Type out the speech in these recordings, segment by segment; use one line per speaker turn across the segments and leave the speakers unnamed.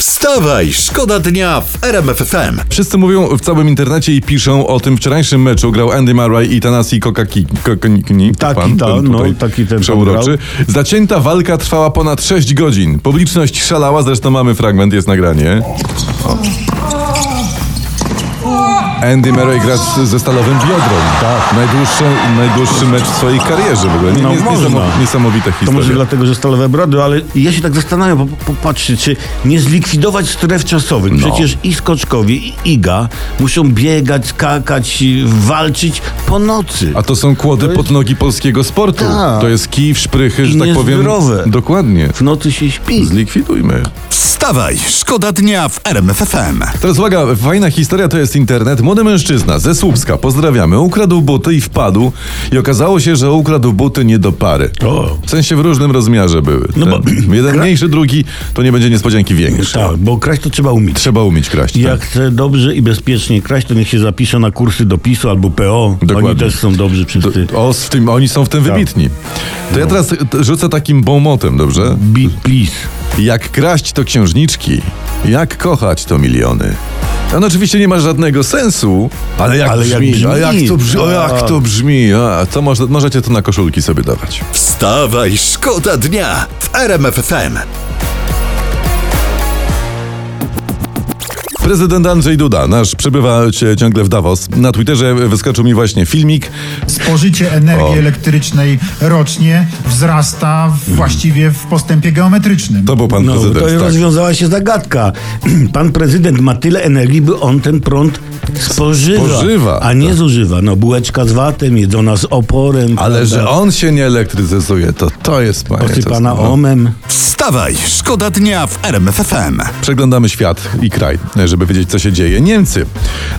Wstawaj, szkoda dnia w RMFFM.
Wszyscy mówią w całym internecie i piszą o tym wczorajszym meczu. Grał Andy Murray i Tanasi Kokakini.
Taki, ta, no, taki ten pan
przeuroczy. Zacięta walka trwała ponad 6 godzin. Publiczność szalała, zresztą mamy fragment, jest nagranie. Andy Murray gra z, ze stalowym biodrem. Tak. Najdłuższy, najdłuższy mecz w swojej karierze w ogóle. Nie,
No,
nie,
można.
niesamowita, niesamowita
To może
historia.
dlatego, że stalowe brody, ale ja się tak zastanawiam, bo po- popatrzcie, czy nie zlikwidować stref czasowych.
No.
Przecież i skoczkowie, i iga muszą biegać, skakać, i walczyć po nocy.
A to są kłody pod nogi polskiego sportu.
Tak.
To jest kij, szprychy, że
I
tak powiem.
niezdrowe.
Dokładnie.
W nocy się śpi.
Zlikwidujmy.
Wstawaj, szkoda dnia w RMFFM.
Teraz uwaga, fajna historia to jest internet. Młody mężczyzna ze Słupska, pozdrawiamy, ukradł buty i wpadł i okazało się, że ukradł buty nie do pary.
O.
W sensie w różnym rozmiarze były.
No bo-
Ten- jeden mniejszy, drugi, to nie będzie niespodzianki większy.
Tak, bo kraść to trzeba umieć.
Trzeba umieć kraść.
Jak
Tak.
chce dobrze i bezpiecznie kraść, to niech się zapisze na kursy dopisu albo PO.
Dokładnie.
Oni też są dobrzy
Do,
wszyscy.
o, z tym, oni są w
Tak.
tym wybitni. To
No.
ja teraz t- rzucę takim bomotem, dobrze?
Be please.
Jak kraść to księżniczki, jak kochać to miliony. On oczywiście nie ma żadnego sensu, ale jak,
Ale
brzmi,
jak brzmi.
A jak to brzmi, a
Tak.
jak to brzmi, a to może, możecie to na koszulki sobie dawać.
Wstawaj, szkoda dnia w RMFFM.
Prezydent Andrzej Duda, nasz przebywa cie- ciągle w Davos. Na Twitterze wyskoczył mi właśnie filmik.
Spożycie energii
O. Mhm.
elektrycznej rocznie wzrasta w- właściwie w postępie geometrycznym.
To był pan
No, to
prezydent. Tak.
rozwiązała się zagadka. Pan prezydent ma tyle energii, by on ten prąd spożywa,
Spożywa, tak.
a nie zużywa. No bułeczka z watem, jedzona z oporem.
Ale że
prawda?
on się nie elektryzuje, to to jest panie.
Posypana
to jest- no.
omem.
Wstawaj, szkoda dnia w RMFFM.
Przeglądamy świat i kraj, żeby wiedzieć, co się dzieje. Niemcy.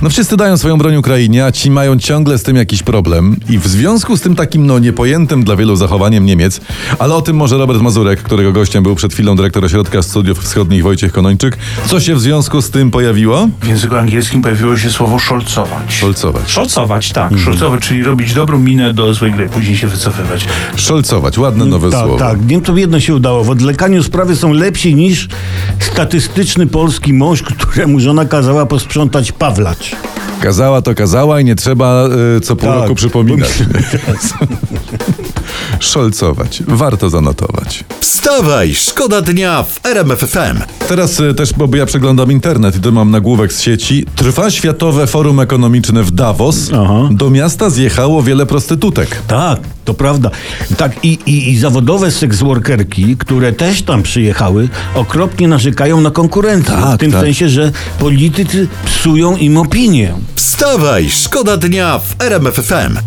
No wszyscy dają swoją broń Ukrainie, a ci mają ciągle z tym jakiś problem. I w związku z tym takim, no, niepojętym dla wielu zachowaniem Niemiec, ale o tym może Robert Mazurek, którego gościem był przed chwilą dyrektor Ośrodka Studiów Wschodnich Wojciech Konończyk. Co się w związku z tym pojawiło?
W języku angielskim pojawiło się słowo szolcować.
Szolcować.
Szolcować, tak. Szolcować, czyli robić dobrą minę do złej gry, później się wycofywać.
Szolcować, ładne nowe
tak,
słowo.
tak. Niemcom jedno się udało. W odlekaniu sprawy są lepsi niż statystyczny polski mąż, któremu żona kazała posprzątać Pawlacz.
Kazała to kazała i nie trzeba y, co pół
Tak.
roku przypominać. Szolcować. Warto zanotować.
Wstawaj, szkoda dnia w RMFFM.
Teraz y, też, bo ja przeglądam internet i to mam nagłówek z sieci. Trwa Światowe Forum Ekonomiczne w Davos.
Aha.
Do miasta zjechało wiele prostytutek.
Tak, to prawda. Tak, i, i, i zawodowe seksworkerki, które też tam przyjechały, okropnie narzekają na konkurencję.
Tak,
w tym
tak.
sensie, że politycy psują im opinię.
Wstawaj, szkoda dnia w RMFFM.